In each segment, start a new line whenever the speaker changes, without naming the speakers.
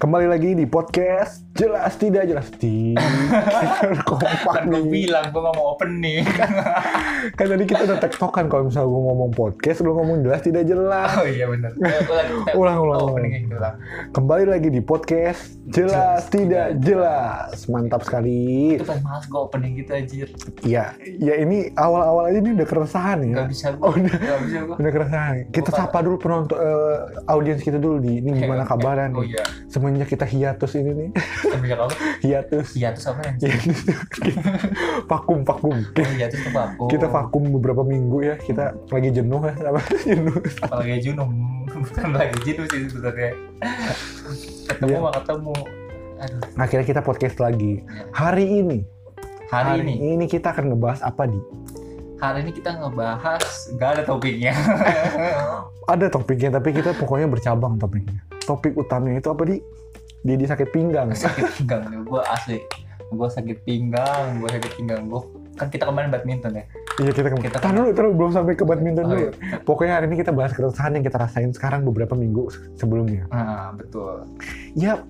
Kembali lagi di podcast jelas tidak jelas di kompak
Kan gue
nih.
bilang gue nggak mau opening.
Kan tadi kita udah tektokan kalau misalnya gue ngomong podcast, lu ngomong jelas tidak jelas.
oh iya benar.
Ulang, ulang,
Openingnya gitu lah.
Kembali lagi di podcast jelas, tidak jelas. Mantap sekali.
Itu pas males gue opening gitu anjir.
Ya, ya ini awal-awal aja ini udah keresahan ya.
Gak bisa gue.
Oh, udah.
Gak bisa gue.
Udah keresahan. Kita
Gua-
sapa dulu penonton eh, audiens kita dulu di ini gimana kabarnya
Oh
nih.
iya.
Semenjak kita hiatus ini nih.
Semenjak apa?
hiatus.
Iya terus apa ya?
Hiatus. vakum, vakum.
Oh iya terus apa? aku?
Kita vakum beberapa minggu ya. Kita lagi jenuh ya. Apa? jenuh.
Apalagi Junum. Bukan lagi Junum sih sebenarnya. Ketemu
Iya.
mah ketemu. Aduh.
Nah, Akhirnya kita podcast lagi.
Iya.
Hari ini.
Hari ini,
kita akan ngebahas apa di?
hari ini kita ngebahas gak ada topiknya.
Ada topiknya tapi kita pokoknya bercabang topiknya. Topik utamanya itu apa di? Dia di sakit pinggang.
sakit pinggang gue asli. Gue sakit pinggang, gue sakit pinggang gue. Kan kita kemarin badminton ya.
Iya kita
Kita-
kemarin. Tahan dulu, tahan dulu, belum sampai ke badminton
Oh,
dulu. ya. Pokoknya hari ini kita bahas keresahan yang kita rasain sekarang beberapa minggu se- sebelumnya.
Nah, betul.
Ya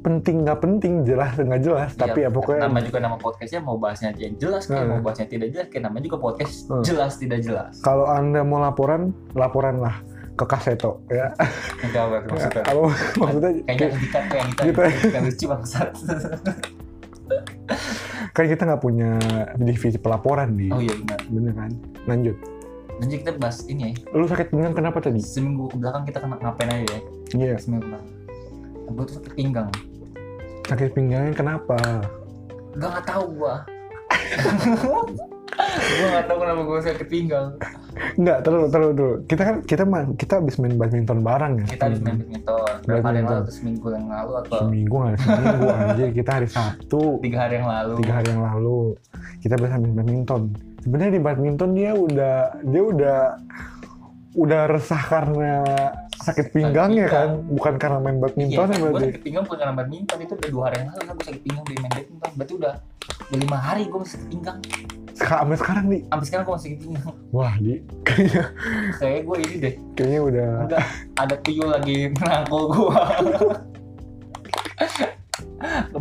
penting nggak penting, jelas nggak jelas.
Iya,
tapi ya pokoknya
nama juga nama podcastnya mau bahasnya yang jelas kayak
Hmm.
mau bahasnya tidak jelas kayak namanya juga podcast
Hmm.
jelas tidak jelas
kalau anda mau laporan, laporanlah ke Kaseto ya.
enggak apa maksudnya
Apa maksudnya?
kayaknya dikat tuh yang kita
Iya. Gitu.
yang lucu bangsat
Kan kita nggak punya divisi pelaporan di.
oh iya benar
Bener kan? Lanjut.
nanti kita bahas ini ya
Lu sakit pinggang kenapa tadi?
seminggu ke belakang kita kena ngapain aja ya
Iya.
seminggu ke belakang gue tuh sakit pinggang
Sakit pinggangnya kenapa?
gak nggak tahu gua gua nggak tahu kenapa gua sakit pinggang
Nggak, terlalu terlalu dulu. Kita kan kita ma- kita habis main badminton bareng ya.
kita habis main badminton berapa hari yang lalu atau seminggu yang lalu atau
Seminggu nggak ada seminggu anjir kita hari Sabtu.
tiga hari yang lalu
tiga hari yang lalu kita bahas sambil badminton sebenarnya di badminton dia udah dia udah udah resah karena sakit pinggangnya kan bukan karena main badminton
Iya,
ya
gue
berarti
sakit pinggang bukan karena badminton itu udah dua hari yang lalu kan gue sakit pinggang dari main badminton. Berarti udah udah lima hari gue masih sakit pinggang.
Seka- sampai sekarang nih
Sampai sekarang gue masih sakit pinggang.
wah di kayaknya
Kayaknya gue ini deh.
kayaknya udah
Enggak ada tuyul lagi merangkul gue.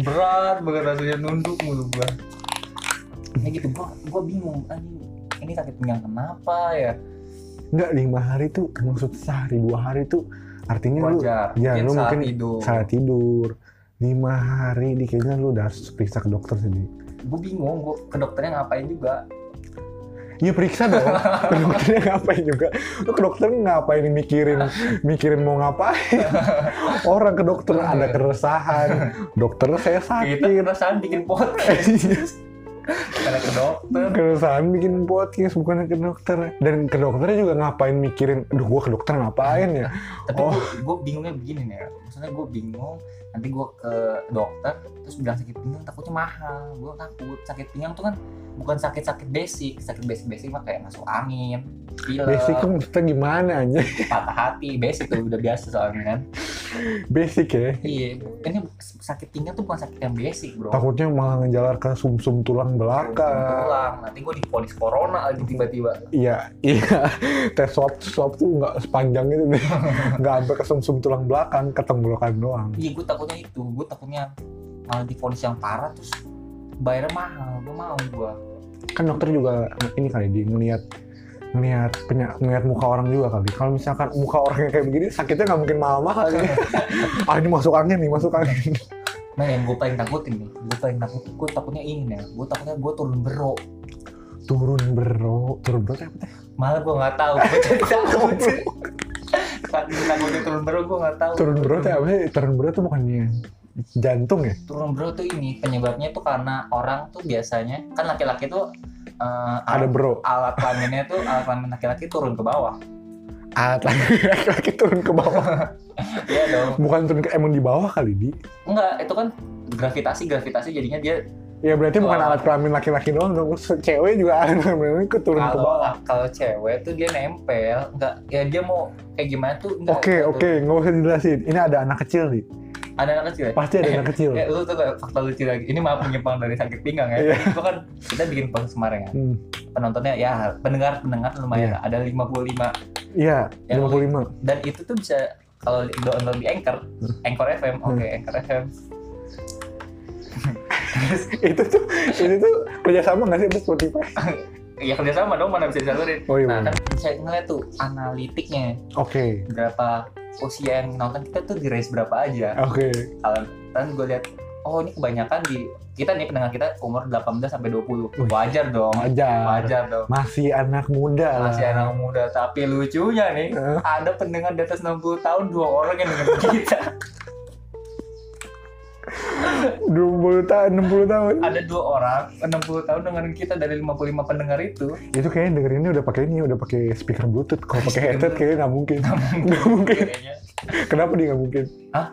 Berat banget rasanya nunduk mulu gue. Ya gitu gue gue bingung anjing ini sakit pinggang kenapa ya
nggak lima hari tuh maksud sehari dua hari tuh artinya lu
wajar
ya, lu
salah
mungkin
tidur
salah tidur lima hari di kayaknya lu udah harus periksa ke dokter sendiri
gue bingung gue ke dokternya ngapain juga
Iya periksa dong. Ke dokternya ngapain juga? Lu ke dokter ngapain mikirin mikirin mau ngapain? Orang ke dokter ada keresahan. Dokter saya
kita
sakit.
kerasaan bikin podcast karena ke dokter
keresahan bikin podcast bukan ke dokter dan ke dokternya juga ngapain mikirin aduh gua ke dokter ngapain ya
tapi
Oh.
gue bingungnya begini nih ya. maksudnya gue bingung nanti gue ke dokter terus bilang sakit pinggang takutnya mahal gue takut sakit pinggang tuh kan bukan sakit sakit basic sakit basic basic mah kayak masuk angin pilek
basic kan maksudnya gimana aja
patah hati basic tuh udah biasa soalnya kan
basic ya
iya ini sakit pinggang tuh bukan sakit yang basic bro
takutnya malah ngejalar ke sumsum tulang belakang
pulang nanti gue diponis corona lagi tiba-tiba
iya iya tes swab swab tuh nggak sepanjang itu deh. nggak sampai ke sumsum tulang belakang ke tenggorokan doang
iya gue takutnya itu gue takutnya malah diponis yang parah terus bayarnya mahal gue mau gue
kan dokter juga ini kali di ngelihat ngelihat penya- ngelihat muka orang juga kali kalau misalkan muka orangnya kayak begini sakitnya nggak mungkin mahal-mahal ini ah ini masuk angin nih masuk angin
Nah yang gue paling takutin nih, gue paling takut, gue takutnya ini nih, gue takutnya gue turun bero.
turun bro turun bro apa teh
Malah gue nggak tahu. Gue jadi takut. Saking takutnya turun bero gue nggak tahu.
turun ya? bro teh apa sih turun bro tuh bukannya jantung ya
Turun bero tuh ini penyebabnya tuh karena orang tuh biasanya kan laki-laki tuh eh,
ada
alat-
bro
alat kelaminnya tuh alat kelamin laki-laki turun ke bawah.
alat laki-laki Ah, turun ke bawah
Iya dong.
bukan turun ke emang di bawah kali di
Enggak, itu kan gravitasi gravitasi jadinya dia
ya berarti bukan
Oh.
alat kelamin laki-laki doang dong cewek juga alat kelamin laki-laki turun ke
kalau
bawah
kalau cewek tuh dia nempel enggak ya dia mau kayak gimana tuh enggak,
oke
gitu.
oke nggak usah dijelasin ini ada anak kecil nih
ada anak kecil ya?
pasti ada anak kecil
Ya, lu tuh kayak fakta lucu lagi. Ini maaf menyimpang dari sakit pinggang ya.
Iya.
Itu kan kita bikin pon kemarin ya.
Hmm.
Penontonnya ya pendengar pendengar lumayan
Iya.
ada 55
Iya,
Yang
55.
dan itu tuh bisa kalau di- download di Anchor, Anchor FM,
Hmm.
oke Anchor FM. Terus,
itu tuh itu tuh kerjasama nggak sih sama Spotify?
ya kerjasama dong mana bisa disalurin.
Oh iya. bener.
Nah kan bisa ngeliat tuh analitiknya
Oke
berapa usia yang nonton kita tuh di raise berapa aja.
oke
Kalau kan gue lihat oh ini kebanyakan di kita nih pendengar kita umur 18 sampai 20.
Wih.
Wajar dong.
wajar
Wajar dong.
masih anak muda lah.
Masih anak muda tapi lucunya nih
Eh,
ada pendengar di atas 60 tahun dua orang yang dengerin kita.
20 tahun 60 tahun
ada dua orang 60 tahun dengerin kita dari 55 pendengar itu.
itu kayaknya dengerinnya udah pakai ini udah pakai speaker bluetooth kalau pakai headset kayaknya nggak mungkin nggak mungkin
Kayaknya
kenapa dia nggak mungkin
Hah?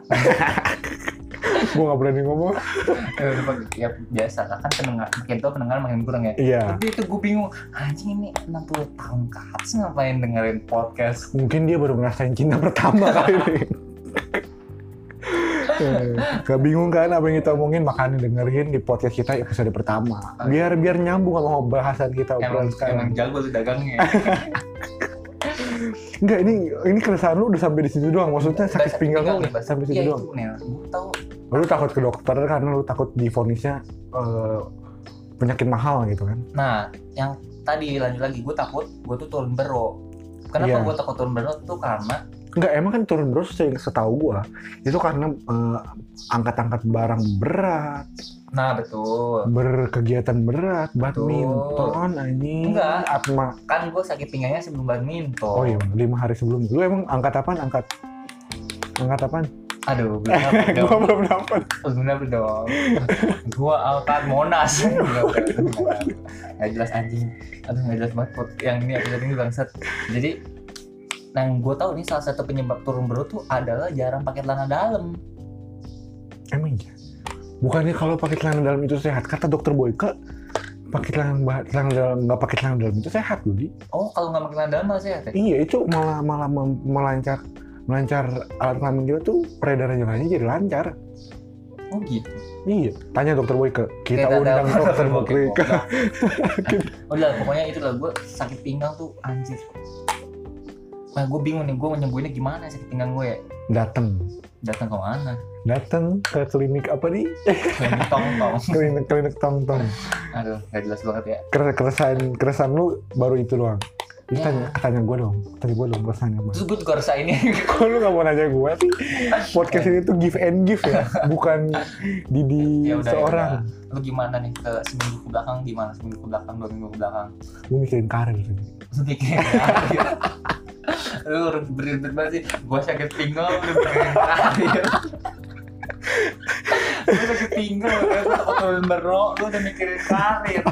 gue nggak berani ngomong
ya, udah, Pak. ya biasa lah kan pendengar makin tua pendengar makin kurang ya.
iya
Tapi itu gue bingung, anjing ini 60 tahun ke atas ngapain dengerin podcast?
mungkin dia baru ngerasain cinta pertama kali ini Eh, Gak bingung kan apa yang kita omongin makanya dengerin di podcast kita episode pertama biar biar nyambung sama bahasan kita
Emang,
obrolan
emang gitu.
sekarang
jago lu dagangnya.
enggak ini ini keresahan lu udah sampai di situ doang maksudnya
Bahasa
sakit pinggang lu
nih, bahasa-
sampai situ
Iya
doang
itu Nel, gue tau
lu takut ke dokter karena lu takut difonisnya eh, penyakit mahal gitu kan
Nah, yang tadi lanjut lagi gue takut gue tuh turun bero. Kenapa
Iya.
gue takut turun bero tuh karena
enggak emang kan turun terus yang setahu gua itu karena eh, angkat-angkat barang berat
nah betul
berkegiatan berat badminton anjing
Enggak.
atma
kan gue sakit pinggangnya sebelum badminton.
oh iya lima hari sebelum lu emang angkat apaan angkat angkat apaan
Aduh, belum dapet dong.
gua belum dapat
Belum dapet dong. gua angkat Monas. Nggak, nggak, nggak. Nggak jelas anjing. Aduh, nggak jelas banget pod- yang ini episode ini bangsat. Jadi nah, yang gue tahu nih salah satu penyebab turun bro tuh adalah jarang pakai celana dalam.
emang iya bukannya kalau pakai celana dalam itu sehat kata dokter Boyke pakai celana ba- celana dalam nggak pakai celana dalam itu sehat loh Di.
Oh, kalau nggak pakai celana dalam malah sehat ya?
Iya itu malah malah mem- melancar melancar alat kelamin kita tuh peredaran jalannya jadi lancar.
Oh gitu.
Iya. Tanya dokter Boyke. Kita
Kita
undang
dapat
dokter
dokter
Boyke.
Nah, Udah, pokoknya itu lah gue sakit pinggang tuh anjir. Nah, gue bingung nih, gue menyembuhinnya gimana sakit pinggang gue ya?
Datang.
Datang ke mana?
Datang ke klinik apa nih?
Klinik tong-tong.
klinik klinik tong tong.
Aduh, nggak jelas banget ya.
Keresahan keresahan lu baru itu doang. Ini
Ya.
tanya, tanya gue dong. Tanya gue dong keresahannya apa?
Terus gue juga rasa ini
Kok lu gak mau nanya gue sih? Podcast ini tuh give and give ya, bukan Didi
ya udah ya
seorang.
udah. lu gimana nih ke seminggu ke belakang gimana seminggu ke belakang dua minggu ke belakang
Gue mikirin karir.
lu bikin lu harus berdebat banget sih gua sakit pinggang lu pengen karir lu sakit pinggang lu takut berok lu udah mikirin karir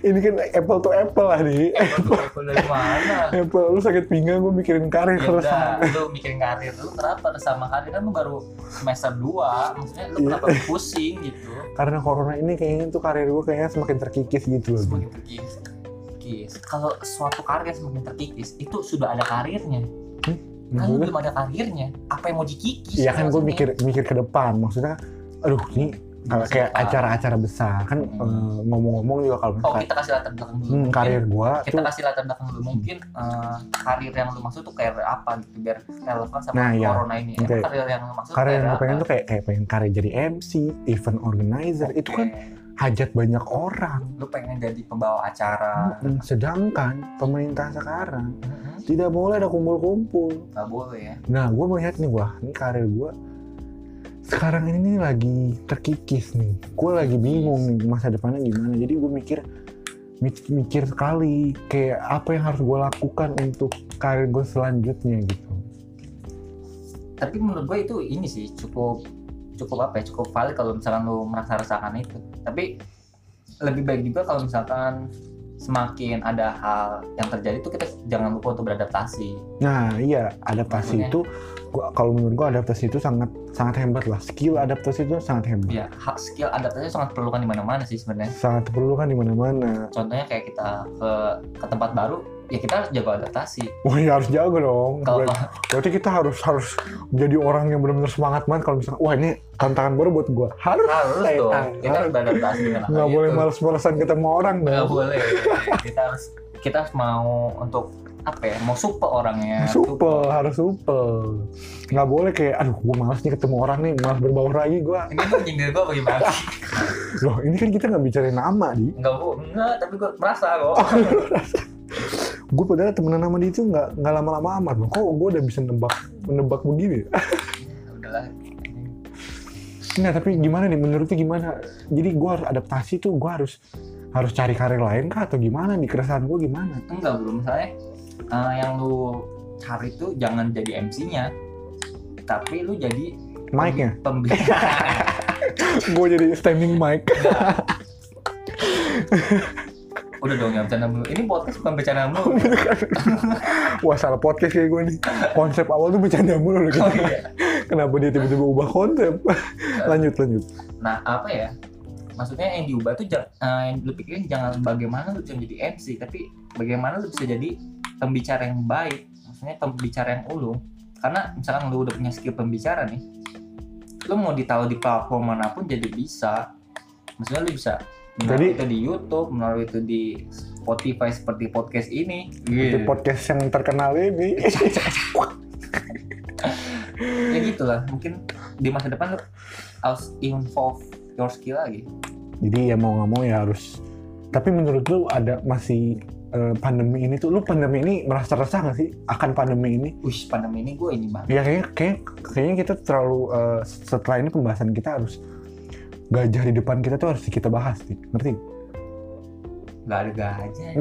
Ini kan apple to apple lah nih.
lu apple dari mana
Apple, lu sakit pinggang gue mikirin karir
Ya udah,
keresahan.
lu mikirin karir lu kenapa sama karir kan lu baru semester 2 maksudnya lu
Iya.
kenapa pusing gitu
karena corona ini kayaknya tuh karir gue kayaknya semakin terkikis gitu loh.
semakin terkikis Kikis. kalau suatu karir semakin terkikis itu sudah ada karirnya kan lu
Maksudnya,
belum ada karirnya apa yang mau dikikis
Iya kan gue
Maksudnya.
mikir mikir ke depan maksudnya, aduh ini kalau kayak
Maksudnya,
acara-acara besar kan
Hmm.
eh, ngomong-ngomong juga kalau
oh
misalkan
kita kasih latar belakang
hmm,
dulu Mungkin
karir gue
kita
tuh,
kasih latar belakang dulu mungkin eh, karir yang lu maksud tuh karir apa gitu biar relevan sama
Nah, iya.
corona ini Emang
Oke.
karir yang lu maksud
karir yang gue pengen tuh kayak kayak pengen karir jadi MC, event organizer itu kan hajat banyak orang.
lu pengen jadi pembawa acara
Hmm, Sedangkan pemerintah sekarang
Mhm.
tidak boleh ada kumpul-kumpul.
nggak boleh ya
Nah, gue melihat nih, wah, ini karir gue sekarang ini nih lagi terkikis nih. Gue lagi bingung nih masa depannya gimana. Jadi gue mikir mi- mikir sekali kayak apa yang harus gue lakukan untuk karir gue selanjutnya gitu.
tapi menurut gue itu ini sih cukup cukup apa ya cukup valid kalau misalkan lu merasa rasakan itu tapi lebih baik juga kalau misalkan semakin ada hal yang terjadi itu kita jangan lupa untuk beradaptasi
Nah, iya, adaptasi
Maksudnya?
itu gua kalau menurut gue adaptasi itu sangat sangat hebat lah. Skill adaptasi itu sangat hebat.
ya hak skill adaptasi sangat diperlukan di mana-mana sih sebenarnya
Sangat diperlukan di mana-mana.
contohnya kayak kita ke ke tempat baru ya kita harus jago adaptasi
Wah, ya harus jago dong.
kalau
Berarti- Berarti kita harus harus menjadi orang yang benar-benar semangat banget kalau misalkan wah ini tantangan baru buat gua. Harus
harus
saya-
dong
harus.
kita harus beradaptasi dengan hal
nggak
itu.
boleh males-malesan ketemu orang
Nah, iya nggak
dong.
boleh kita harus kita harus mau untuk apa ya mau supe orangnya
supel harus supel nggak boleh kayak aduh gue malas nih ketemu orang nih malas berbaur lagi gue
ini lu nyindir gua bagaimana
loh ini kan kita nggak bicara nama di
enggak bu enggak tapi gua merasa kok
gue padahal temenan sama dia itu nggak nggak lama-lama amat loh kok gue udah bisa nebak menebak begini
Ya, udahlah
nah tapi gimana nih menurutnya gimana jadi gue harus adaptasi tuh gue harus harus cari karir lain kah atau gimana nih keresahan gue gimana
enggak bro misalnya eh, yang lu cari tuh jangan jadi MC-nya tapi lu jadi
mic-nya
pembina
gue jadi standing mic
udah dong jangan bercanda mulu ini podcast bukan bercanda mulu
wah salah podcast kayak gue nih konsep awal tuh bercanda mulu loh
oh,
gitu.
iya.
kenapa dia tiba-tiba ubah konsep lanjut lanjut
nah apa ya maksudnya yang diubah tuh jangan, eh, yang lu pikirin jangan bagaimana lu bisa jadi MC tapi bagaimana lu bisa jadi pembicara yang baik maksudnya pembicara yang ulung karena misalkan lu udah punya skill pembicara nih lu mau ditaruh di platform manapun jadi bisa maksudnya lu bisa menaruh
Jadi-
itu di YouTube menaruh itu di Spotify seperti podcast ini
di
gitu.
podcast yang terkenal ini
ya gitulah mungkin di masa depan lu harus involve your skill lagi
jadi ya mau nggak mau ya harus tapi menurut lu ada masih eh, pandemi ini tuh lu pandemi ini merasa resah nggak sih akan pandemi ini
Wih, pandemi ini gue ini banget.
ya kayaknya kayak, kayaknya kita terlalu eh, setelah ini pembahasan kita harus gajah di depan kita tuh harus kita bahas nih ngerti
Gak ada gajah.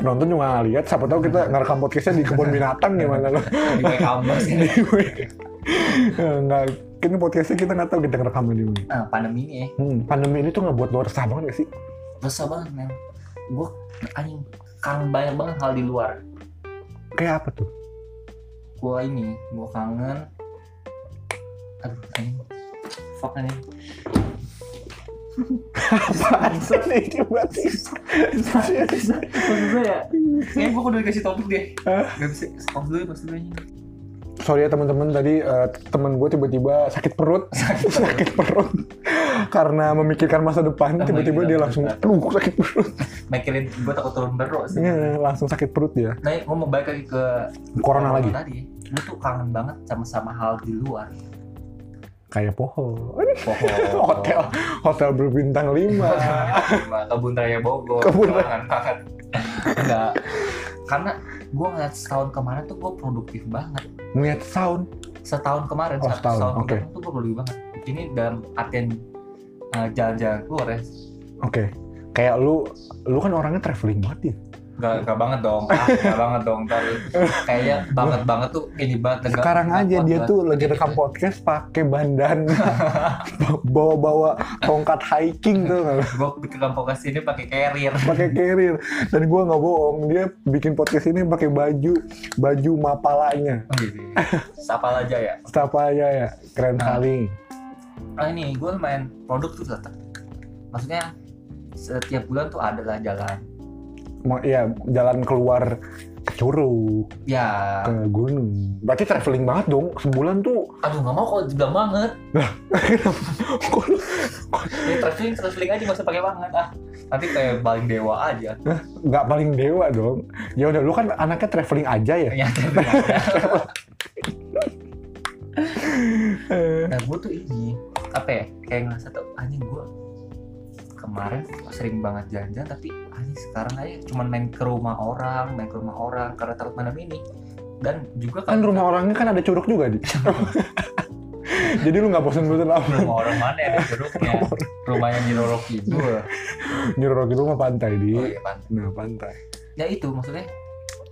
penonton juga nggak lihat siapa tahu kita ngerekam podcastnya di kebun binatang gimana lo
Di kayak kampus.
nggak kan podcastnya kita nggak tahu kita ngerekamnya di mana
Nah, pandemi ini ya.
hmm, pandemi ini tuh nggak buat lo resah banget nggak sih
Resah banget, men. Gue anjing kangen banyak banget hal di luar.
kayak apa tuh
Gue ini, gue kangen. Aduh, anjing. Fuck anjing.
apaan sih ini berarti
Maksud gue ya, kayaknya gue udah dikasih topik deh.
Hah?
Gak bisa, stop dulu ya, pas dulu anjing.
sorry ya teman-teman tadi eh, temen gue tiba-tiba sakit perut sakit perut karena memikirkan masa depan
Oh,
tiba-tiba
iya,
dia langsung
benar.
aduh gua sakit perut
Mikirin, gue takut turun berok sih.
Iya, langsung sakit perut dia
Nah, gue mau balik lagi ke
corona lagi
tadi. Gue tuh kangen banget sama-sama hal di luar.
kayak pohon
Pohon.
hotel hotel berbintang lima
Nah, kebun raya Bogor
Kebun raya.
kangen banget enggak karena gue ngeliat setahun kemarin tuh gue produktif banget
ngeliat sound
setahun kemarin
Oh,
satu
setahun, oke.
kemarin tuh gue produktif banget ini dalam artian uh, jalan-jalan keluar ya
oke kayak lu lu kan orangnya traveling banget ya
Enggak, enggak banget dong ah, enggak banget dong ntar kayaknya banget banget tuh ini banget enggak-
sekarang
enggak
aja
kuat
dia
banget.
tuh lagi rekam podcast pakai bandan bawa-bawa tongkat hiking tuh
gue bikin kampung ke sini pakai carrier
pakai carrier dan gue nggak bohong dia bikin podcast ini pakai baju baju mapalanya
Oh, gitu ya. Sapa aja ya
apa ya ya keren
Nah.
sekali
ah ini gue main produk tuh tetap maksudnya setiap bulan tuh ada lah jalan
mau ya jalan keluar ke curug
ya
ke gunung Nah. berarti traveling banget dong sebulan tuh
aduh nggak mau kalau dibilang banget
kok lu-
ya traveling traveling aja nggak usah pakai banget ah nanti kayak paling dewa aja
nggak paling dewa dong ya udah lu kan anaknya traveling aja ya
Ya, traveling aja.
Eh,
nah gue tuh ini apa ya kayak ngerasa tuh anjing gue kemarin sering banget jalan-jalan tapi anjing sekarang aja cuma main ke rumah orang main ke rumah orang karena takut malam ini dan juga
kan
kalau-
rumah orangnya kan ada curug juga di jadi lu nggak bosen-bosen apa
rumah orang mana ya jeruknya rumahnya di lorok kidul
Iya. nyuruh rumah pantai di
oh, iya, pantai.
nah pantai
ya itu maksudnya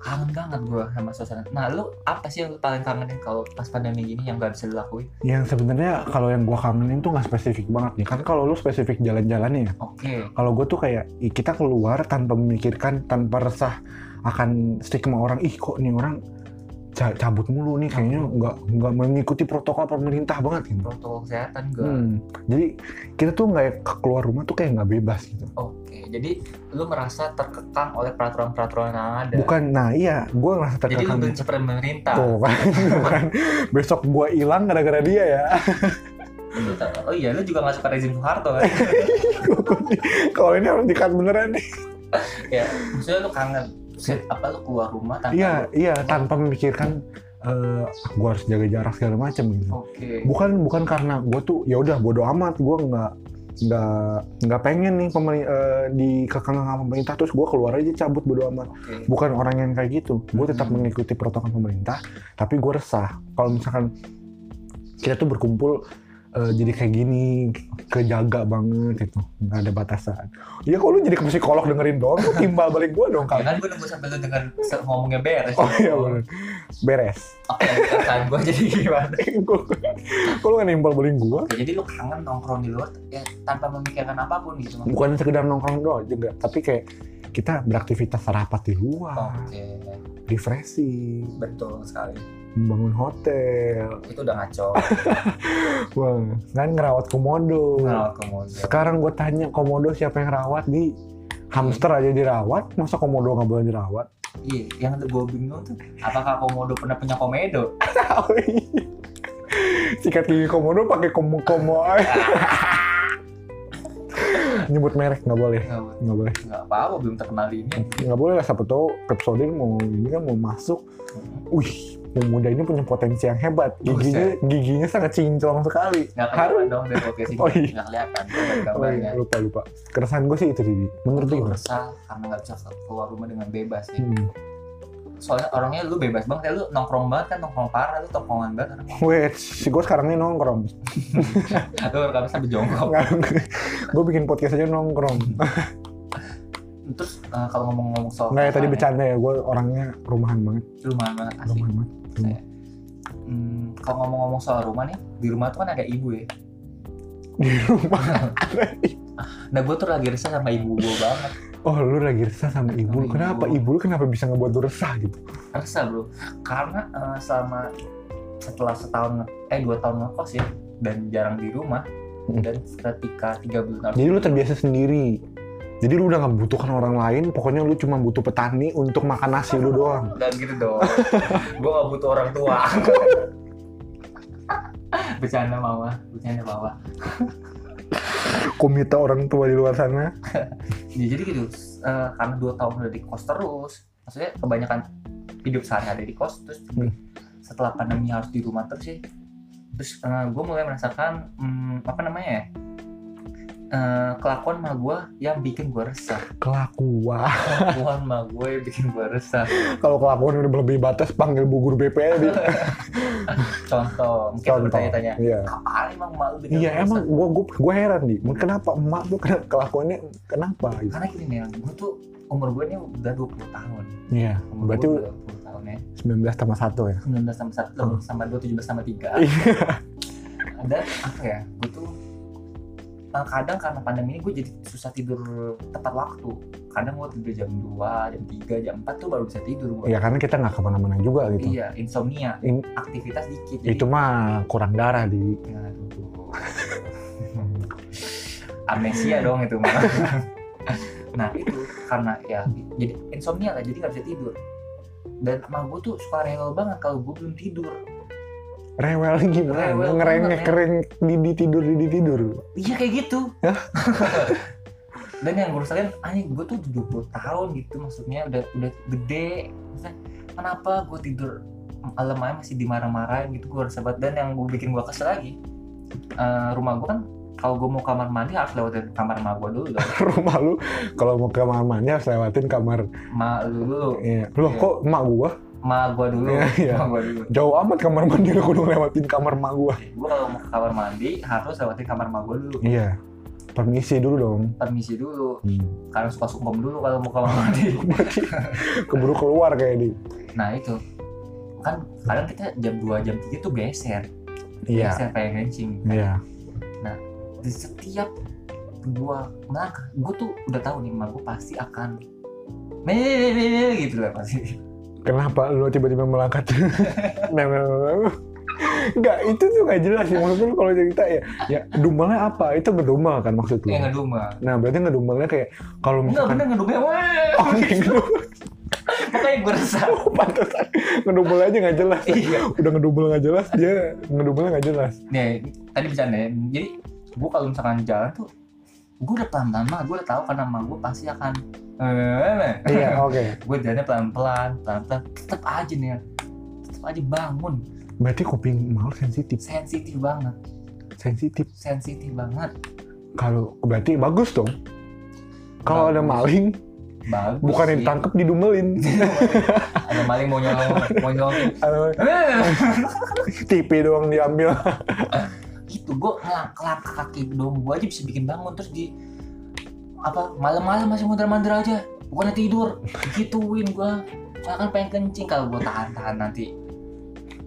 kangen banget gue sama suasana nah lu apa sih yang lu paling kangenin kalau pas pandemi gini yang gak bisa dilakuin
yang sebenarnya kalau yang gua kangenin tuh nggak spesifik banget nih kan kalau lu spesifik jalan-jalan ya
oke
kalau gue tuh kayak ih, kita keluar tanpa memikirkan tanpa resah akan stigma orang ih kok nih orang ca- cabut mulu nih kayaknya nggak nggak mengikuti protokol pemerintah banget gitu
protokol kesehatan gak
Hmm, jadi kita tuh nggak ke- keluar rumah tuh kayak nggak bebas gitu
oke jadi lu merasa terkekang oleh peraturan-peraturan yang ada
bukan nah iya gue ngerasa
jadi lu
terkekang
benci pemerintah
tuh kan bukan besok gue hilang gara-gara dia ya
Lu tak- oh iya lu juga gak suka rezim Soeharto kan
kalau ini harus dikat beneran nih
maksudnya lu kangen Set, apa lu keluar rumah tanpa
iya
lu-
iya tanpa memikirkan eh gue harus jaga jarak segala macam gitu
Oke.
bukan bukan karena gue tuh ya udah bodo amat gue nggak nggak nggak pengen nih pemerintah di kekang sama pemerintah terus gue keluar aja cabut bodo amat
Oke.
bukan orang yang kayak gitu gue tetap
Hmm.
mengikuti protokol pemerintah tapi gue resah kalau misalkan kita tuh berkumpul eh, jadi kayak gini kejaga banget gitu nggak ada batasan ya kok lu jadi ke psikolog dengerin doang lu timbal balik gue dong
Ya
kan
kan gue nunggu sampai lu denger se- ngomongnya beres.
oh iya bener beres
Oke, perasaan gue jadi gimana?
kalau lu nggak nimbal balik gue
Oke, jadi lu kangen nongkrong di luar ya, tanpa memikirkan apapun gitu. Mas.
bukan sekedar nongkrong doang juga tapi kayak kita beraktivitas rapat di luar
Oke,
refreshing
betul sekali.
membangun hotel
Itu udah ngaco.
wah kan ngerawat komodo
Kalau kemudian
sekarang gue tanya komodo siapa yang rawat di hamster aja dirawat masa komodo nggak boleh dirawat
Iya, yang gue bingung tuh apakah komodo pernah punya komedo?
Oh, iya. sikat gigi komodo pakai komo komo nyebut merek nggak boleh
Nggak
nggak boleh
nggak apa-apa, belum terkenal di ini.
nggak boleh lah siapa tahu Pepsodent mau ini kan mau masuk wih pemuda ini punya potensi yang hebat giginya giginya sangat cincong sekali
Nggak
Harus.
kelihatan dong dari podcast ini.
Oh, iya.
Nggak kelihatan nggak Iya. ada
oh
gambarnya.
iya, lupa lupa keresahan gue sih itu Didi menurut lu
Lu
gimana?
resah karena nggak bisa keluar rumah dengan bebas ya.
Hmm.
Soalnya orangnya lu bebas banget, ya. lu nongkrong banget kan, nongkrong parah, lu tongkrongan banget. orang.
Wait, si gue sekarang ini nongkrong.
Lu rekamnya sampai jongkok. Hmm.
gue bikin podcast aja nongkrong.
Terus eh, kalau ngomong-ngomong soal
Nggak ya tadi
makanan
bercanda ya, gue orangnya rumahan banget.
ya, Rumah banget asli.
Rumahan banget.
Hmm, kalau ngomong-ngomong soal rumah nih, di rumah tuh kan ada ibu ya.
Di rumah.
Nah gue tuh lagi resah sama ibu gue banget.
Oh lu lagi resah sama ibu lu. Kenapa ibu lu kenapa bisa ngebuat lu resah gitu?
Resah bro, karena eh, selama setelah setahun eh dua tahun ngekos ya dan jarang di rumah
Mm.
dan ketika tiga bulan
Jadi lu terbiasa sendiri. Jadi lu udah nggak butuhkan orang lain. Pokoknya lu cuma butuh petani untuk makan nasi lu doang.
dan gitu dong gue gak butuh orang tua bercanda mama bercanda mama
Komite orang tua di luar sana.
Ya, jadi gitu eh, karena dua tahun udah di kos terus maksudnya kebanyakan hidup sehari-hari di kos terus
Hmm.
setelah pandemi harus di rumah terus sih terus gue mulai merasakan hmm, apa namanya ya Eh, kelakuan mah gue yang bikin gue resah
Kelakuan.
kelakuan mah gue yang bikin gue resah
kalau kelakuan udah melebihi batas panggil bu guru BP aja Di.
contoh mungkin lu
Contoh.
bertanya-tanya
iya
kapan emang emak lu bikin
iya
lu
emang
resah?"
gua gua, gua heran nih kenapa emak tuh kena, kelakuannya kenapa gitu
karena gini nih gue tuh umur gue ini udah 20 tahun
iya
umur
berarti
gue udah 20 tahun ya
19 tambah 1 ya
19 sama 1
Hmm.
sama 2 17 sama 3
iya
ada apa ya gue tuh eh, kadang karena pandemi ini gue jadi susah tidur tepat waktu kadang gue tidur jam 2, jam 3, jam 4 tuh baru bisa tidur gue
ya karena kita nggak kemana-mana juga gitu
Iya, insomnia
In-
aktivitas dikit
itu mah kurang darah di
Ya, aduh. amnesia dong itu mah nah itu karena ya jadi insomnia lah jadi nggak bisa tidur dan emang gue tuh suka rewel banget kalau gue belum tidur
rewel gimana
Rewel
ngerengek
banget, ya.
kering di tidur di tidur
Iya kayak gitu. Dan yang gue rasain, anjing gue tuh 70 tahun gitu maksudnya udah udah gede. Maksudnya, kenapa gue tidur malam aja masih dimarah-marahin gitu gue rasa banget. Dan yang gue bikin gue kesel lagi, eh, rumah gue kan kalau gue mau kamar mandi harus lewatin kamar emak gue dulu dong.
rumah lu kalau mau ke kamarnya harus lewatin kamar
Ma lu dulu,
iya. loh
Iya.
kok emak gua
ma gue dulu,
Iya, iya.
ma gue dulu.
jauh amat kamar mandi lu kudu lewatin kamar emak gua
Gue kalau mau ke kamar mandi harus lewatin kamar emak gue dulu.
iya permisi dulu dong
Permisi dulu,
hmm.
karena suka sungkem dulu kalau mau ke kamar mandi.
Berarti keburu keluar kayak di.
Nah itu kan kadang kita jam 2 jam 3 tuh geser,
Ya.
geser pengen kencing.
Iya.
Di setiap gua melangkah, gua tuh udah tahu nih emak gua pasti akan "Meh," gitu lah pasti.
Kenapa lu tiba-tiba melangkah tuh? Enggak, itu tuh nggak jelas sih. Maksud lu kalau cerita ya, ya dumelnya apa? Itu ngedumel kan maksud lu?
Kayak ngedumel.
Nah, berarti ngedumelnya kayak kalau
Enggak
misalkan
Iya, bener ngedumel. Wah,
Oh, kayak gitu.
Makanya gua resah.
Pantesan. Ngedumel aja nggak jelas.
Iya.
Udah ngedumel nggak jelas, dia ngedumelnya nggak jelas.
Nih, tadi bercanda ya. Jadi gua kalau misalkan jalan tuh gue udah pelan pelan banget gue udah tahu karena mama gue pasti akan eh,
iya oke
gue jalannya pelan pelan pelan pelan tetap aja nih tetap aja bangun
berarti kuping mau sensitif
sensitif banget
sensitif
sensitif banget
kalau berarti bagus dong kalau ada maling
bagus
bukan
sih.
ditangkap didumelin
ada maling mau nyolong mau Eh, nyolong
Ada- TV doang diambil
itu gue ngelak kaki dong gue aja bisa bikin bangun terus di apa malam-malam masih mondar-mandir aja bukannya tidur gituin gue kan pengen kencing kalau gue tahan-tahan nanti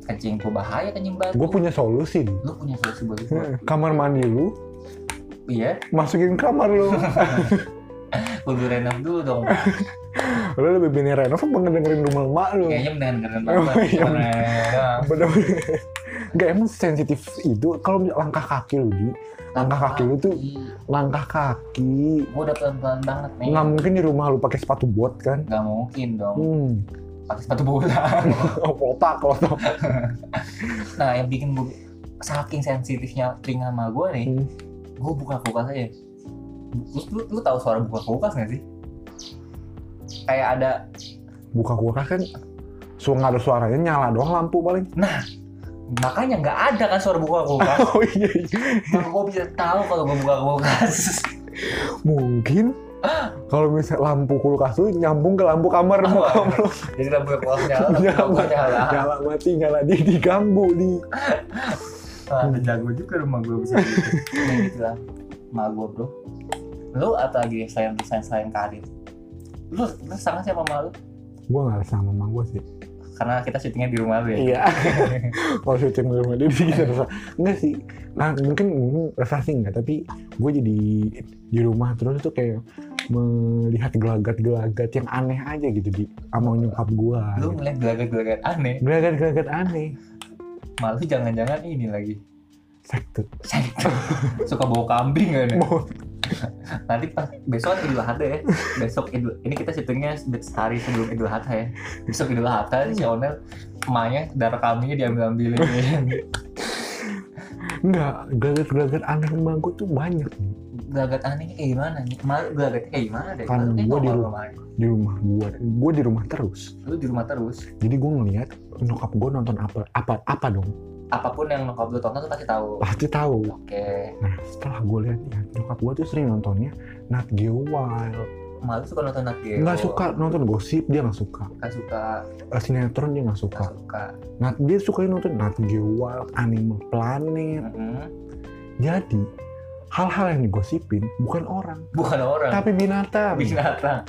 kencing gue bahaya kencing batu
gue punya Hmm, solusi nih
lu punya solusi buat gue
kamar mandi lu
iya
masukin kamar lu
kudu renov dulu dong
lu lebih bener renov apa ngedengerin rumah emak lu
kayaknya mendengar keren
Oh, iya.
banget
bener-bener gak emang sensitif itu kalau langkah kaki lu di langkah kaki lu tuh langkah kaki
gue Iya, udah pelan-pelan banget nih
nggak mungkin di rumah lu pakai sepatu bot kan
nggak mungkin dong
hmm
pakai sepatu bola
otak kalau tau
Nah yang bikin gue saking sensitifnya telinga sama gue nih,
Hmm.
gue buka kulkas aja. Lu, lu, lu tahu suara buka kulkas nggak sih? Kayak ada,
buka kulkas kan suara nggak ada suaranya nyala doang lampu paling
nah makanya nggak ada kan suara buka kulkas.
oh iya, iya.
Maka gue bisa tahu kalau gue buka kulkas.
mungkin kalau misal lampu kulkas tuh nyambung ke lampu kamar
Oh,
bokap lu.
Jadi kalau buka kulkas nyala, tapi
Nyala.
kalau gue nyala.
nyala mati nyala di diganggu di
Wah, ada jago juga rumah gue bisa gitu. Nah, gitu lah. Mak gue bro. Lu apalagi selain selain selain karir. Lu lu sangat siapa malu?
gue nggak sama sama gue sih
Karena kita syutingnya di rumah lu ya.
iya kalau syuting di rumah dia dia bisa rasa enggak sih nah mungkin mungkin rasa sih enggak tapi gue jadi di rumah terus tuh kayak melihat gelagat-gelagat yang aneh aja gitu di sama nyokap gue
lu ngeliat gelagat-gelagat aneh
gelagat-gelagat aneh
malu jangan-jangan ini lagi
sekte
Sekte. suka bawa kambing kan ya?
mau
nanti pas besok idul adha ya besok idul ini kita situngnya sehari sebelum idul adha ya besok idul adha si
Hmm.
Onel emaknya darah kambingnya ya. diambil ambilin
enggak gelagat-gelagat aneh emak gue tuh banyak nih.
gelagat anehnya kayak gimana nih malu gelagatnya kayak eh, gimana deh
Kan
Kayaknya
gua di
normal
rumah.
aja.
di rumah gue gue di rumah terus
lu di rumah terus
jadi gue ngeliat nyokap gue nonton apa apa apa dong
apapun yang nyokap lu tonton tuh pasti tahu
pasti tahu
oke
nah setelah gue lihat ya nyokap gue tuh sering nontonnya Nat Geo Wild
malu suka nonton Nat Geo
nggak suka nonton gosip dia nggak suka
nggak suka
Eh, sinetron dia nggak
nggak
suka
suka
nah dia suka nonton Nat Geo Wild Animal Planet
Mm-mm.
jadi hal-hal yang digosipin bukan orang
bukan orang
tapi binatang
Nah. binatang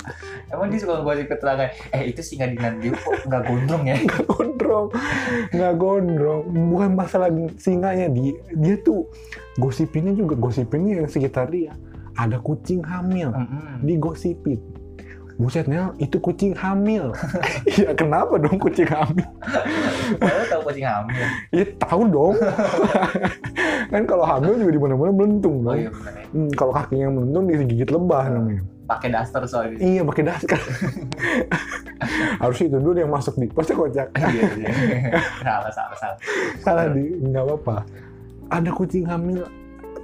emang dia suka ngasih keterangan eh itu singa di Nandiu kok nggak gondrong ya
nggak gondrong nggak gondrong bukan masalah singanya dia dia tuh gosipinnya juga gosipinnya yang sekitar dia ada kucing hamil
Mm-mm.
digosipin buset Nel, itu kucing hamil ya kenapa dong kucing hamil
Padahal tahu kucing hamil
ya tahu dong kan kalau hamil juga di mana mana melentung
oh
dong
iya benar ya
Hmm, kalau kakinya melentung digigit lebah namanya
pakai daster soalnya
iya pakai daskar harusnya itu dulu yang masuk di pasti kocak
iya iya salah salah salah
salah di nggak apa-apa ada kucing hamil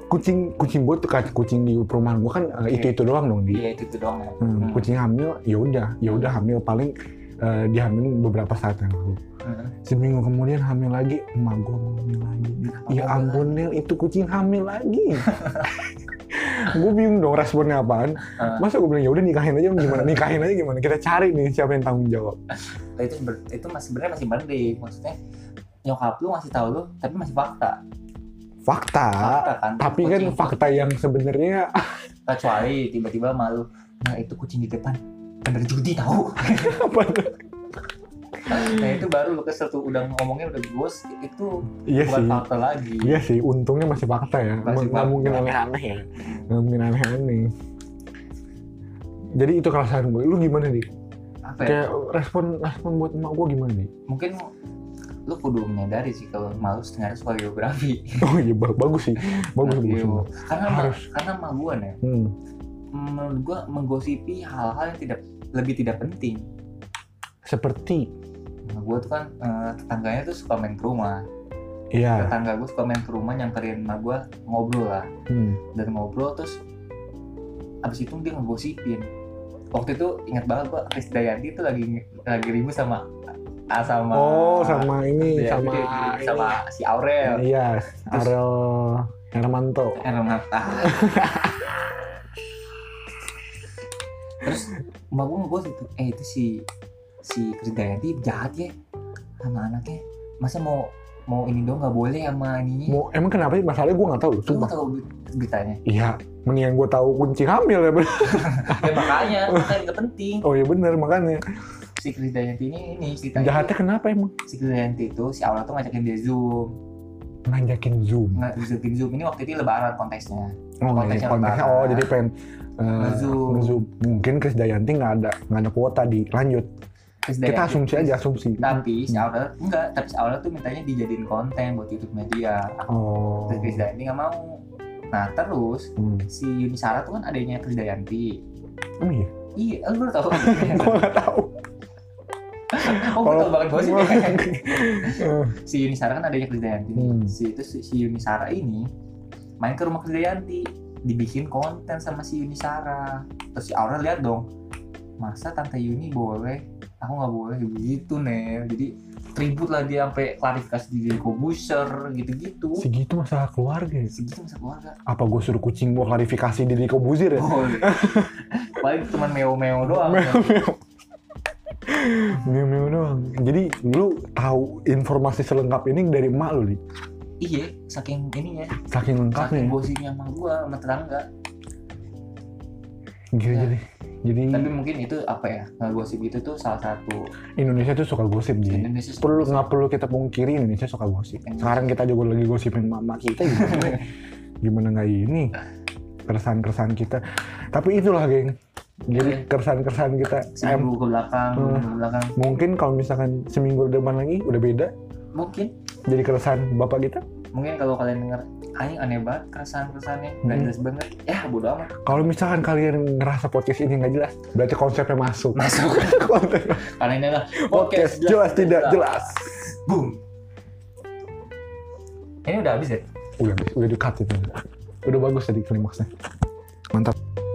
kucing kucing buat kucing di perumahan gua kan itu itu doang dong di
iya itu tuh doang ya
Hmm,
Hmm.
kucing hamil ya udah ya udah hamil paling eh, dia hamil beberapa saat yang lalu
Mm.
seminggu kemudian hamil lagi emak gue mau hamil lagi ya
Kenapa
ampun Nel itu kucing hamil lagi gue bingung dong responnya apaan
Ah.
masa gue bilang ya udah nikahin aja gimana nikahin aja gimana kita cari nih siapa yang tanggung jawab
Nah, itu ber- itu masih sebenarnya masih mending maksudnya nyokap lu ngasih tahu lu tapi masih fakta
fakta
fakta kan
tapi kan
Kucing.
fakta yang sebenarnya
kecuali tiba-tiba malu nah itu kucing di depan bener judi tahu
apa tuh?
nah itu baru lu kesel tuh udah ngomongnya udah bos itu
iya
bukan
sih
fakta lagi
iya sih untungnya masih fakta ya
Masih
nggak
fakta.
mungkin aneh-aneh ya nggak mungkin aneh-aneh jadi itu keresahan gue lu gimana nih
apa ya?
kayak respon respon buat emak gue gimana nih
mungkin lu kudu menyadari sih kalau malu sebenarnya suka geografi
oh iya ba- bagus sih bagus
Nah,
bagus,
geo.
bagus.
karena ma-
Harus.
karena mah gua nih
Hmm.
menurut gua menggosipi hal-hal yang tidak lebih tidak penting
seperti
Nah, gua tuh kan eh, tetangganya tuh suka main ke rumah
ya
tetangga gua suka main ke rumah nyamperin sama gua ngobrol lah
hmm.
dan ngobrol terus abis itu dia ngegosipin waktu itu ingat banget gua Chris Dayanti itu lagi lagi ribut sama ah, sama
oh sama ini
Dayanti,
sama
iya, sama si Aurel
ini. iya
Terus-
Ariel Hermanto
Ermata. Terus emak gue gue gitu, eh itu si si Krisdayanti jahat ya sama anaknya. Masa mau mau ini dong nggak boleh sama ininya.
mau emang kenapa sih masalahnya gue nggak tahu
Lu
sumpah
tahu ber- beritanya?
iya mendingan gue tahu kunci hamil ya bener.
Ya makanya, makanya nggak penting.
oh iya bener makanya
Si Krisdayanti ini ini ceritanya.
jahatnya kenapa emang
Si Krisdayanti itu si awal tuh ngajakin dia zoom,
nanjakin zoom
ngajakin zoom. Ini waktu itu lebaran kontesnya.
Oh, iya,
Konteksnya
konteksnya.
lebaran.
Oh, jadi pengen eh,
Ngezoom.
ngezoom. Mungkin Chris Dayanti nggak ada nggak ada kuota di lanjut. Kita
Krisdayanti-
asumsi aja asumsi.
Tapi si Aurel enggak, tapi si Aurel tuh mintanya dijadiin konten buat YouTube media.
Oh.
Terus Krisdayanti nggak mau. Nah terus
Hmm.
si Yuni Sara tuh kan adanya Krisdayanti.
Emang iya?
Iya, lu baru tahu.
Gua nggak tahu.
oh, gue tahu banget gosip.
Eh,
si Yuni Sara kan adanya Krisdayanti. nih.
Hmm.
Si itu si, si Yuni Sara ini main ke rumah Krisdayanti, dibikin konten sama si Yuni Sara. Terus si Aurel lihat dong, masa tante Yuni boleh, aku nggak boleh gitu nih. Jadi ribut lah dia sampai klarifikasi di Deddy Kobuser gitu-gitu.
Segitu masalah keluarga. ya?
Segitu masa keluarga.
Apa gue suruh kucing gue klarifikasi diri Kobuzir ya?
Boleh. Paling cuma meo-meo doang.
Mio mio doang. Jadi lu tahu informasi selengkap ini dari emak lu nih.
iya, saking ininya,
Saking
saking
lengkapnya. ya.
gosipnya sama gua sama tetangga.
Hmm. Gila
Ya.
jadi. Jadi
Tapi mungkin itu apa ya? Nggak gosip itu tuh salah satu
Indonesia tuh suka gosip jadi.
Indonesia
Iya. perlu nggak perlu kita pungkiri Indonesia suka gosip. Sekarang kita juga lagi gosipin mama kita gimana? gimana nggak ini keresahan-keresahan kita. Tapi itulah geng.
Iya.
Jadi keresahan-keresahan kita. Em,
seminggu ke belakang,
Hmm.
seminggu ke belakang.
mungkin kalau misalkan seminggu depan lagi udah beda.
Mungkin
Jadi keresahan bapak kita.
mungkin kalau kalian denger anjing aneh banget keresahan-keresahannya, nggak
Hmm.
jelas banget. Ya bodo amat.
Kalau misalkan kalian ngerasa podcast ini nggak jelas, berarti konsepnya masuk.
Masuk.
Konten-
Karena ini adalah
podcast jelas tidak jelas.
Boom. Ini udah habis ya?
Udah, udah di cut itu. Udah bagus tadi klimaksnya. Mantap.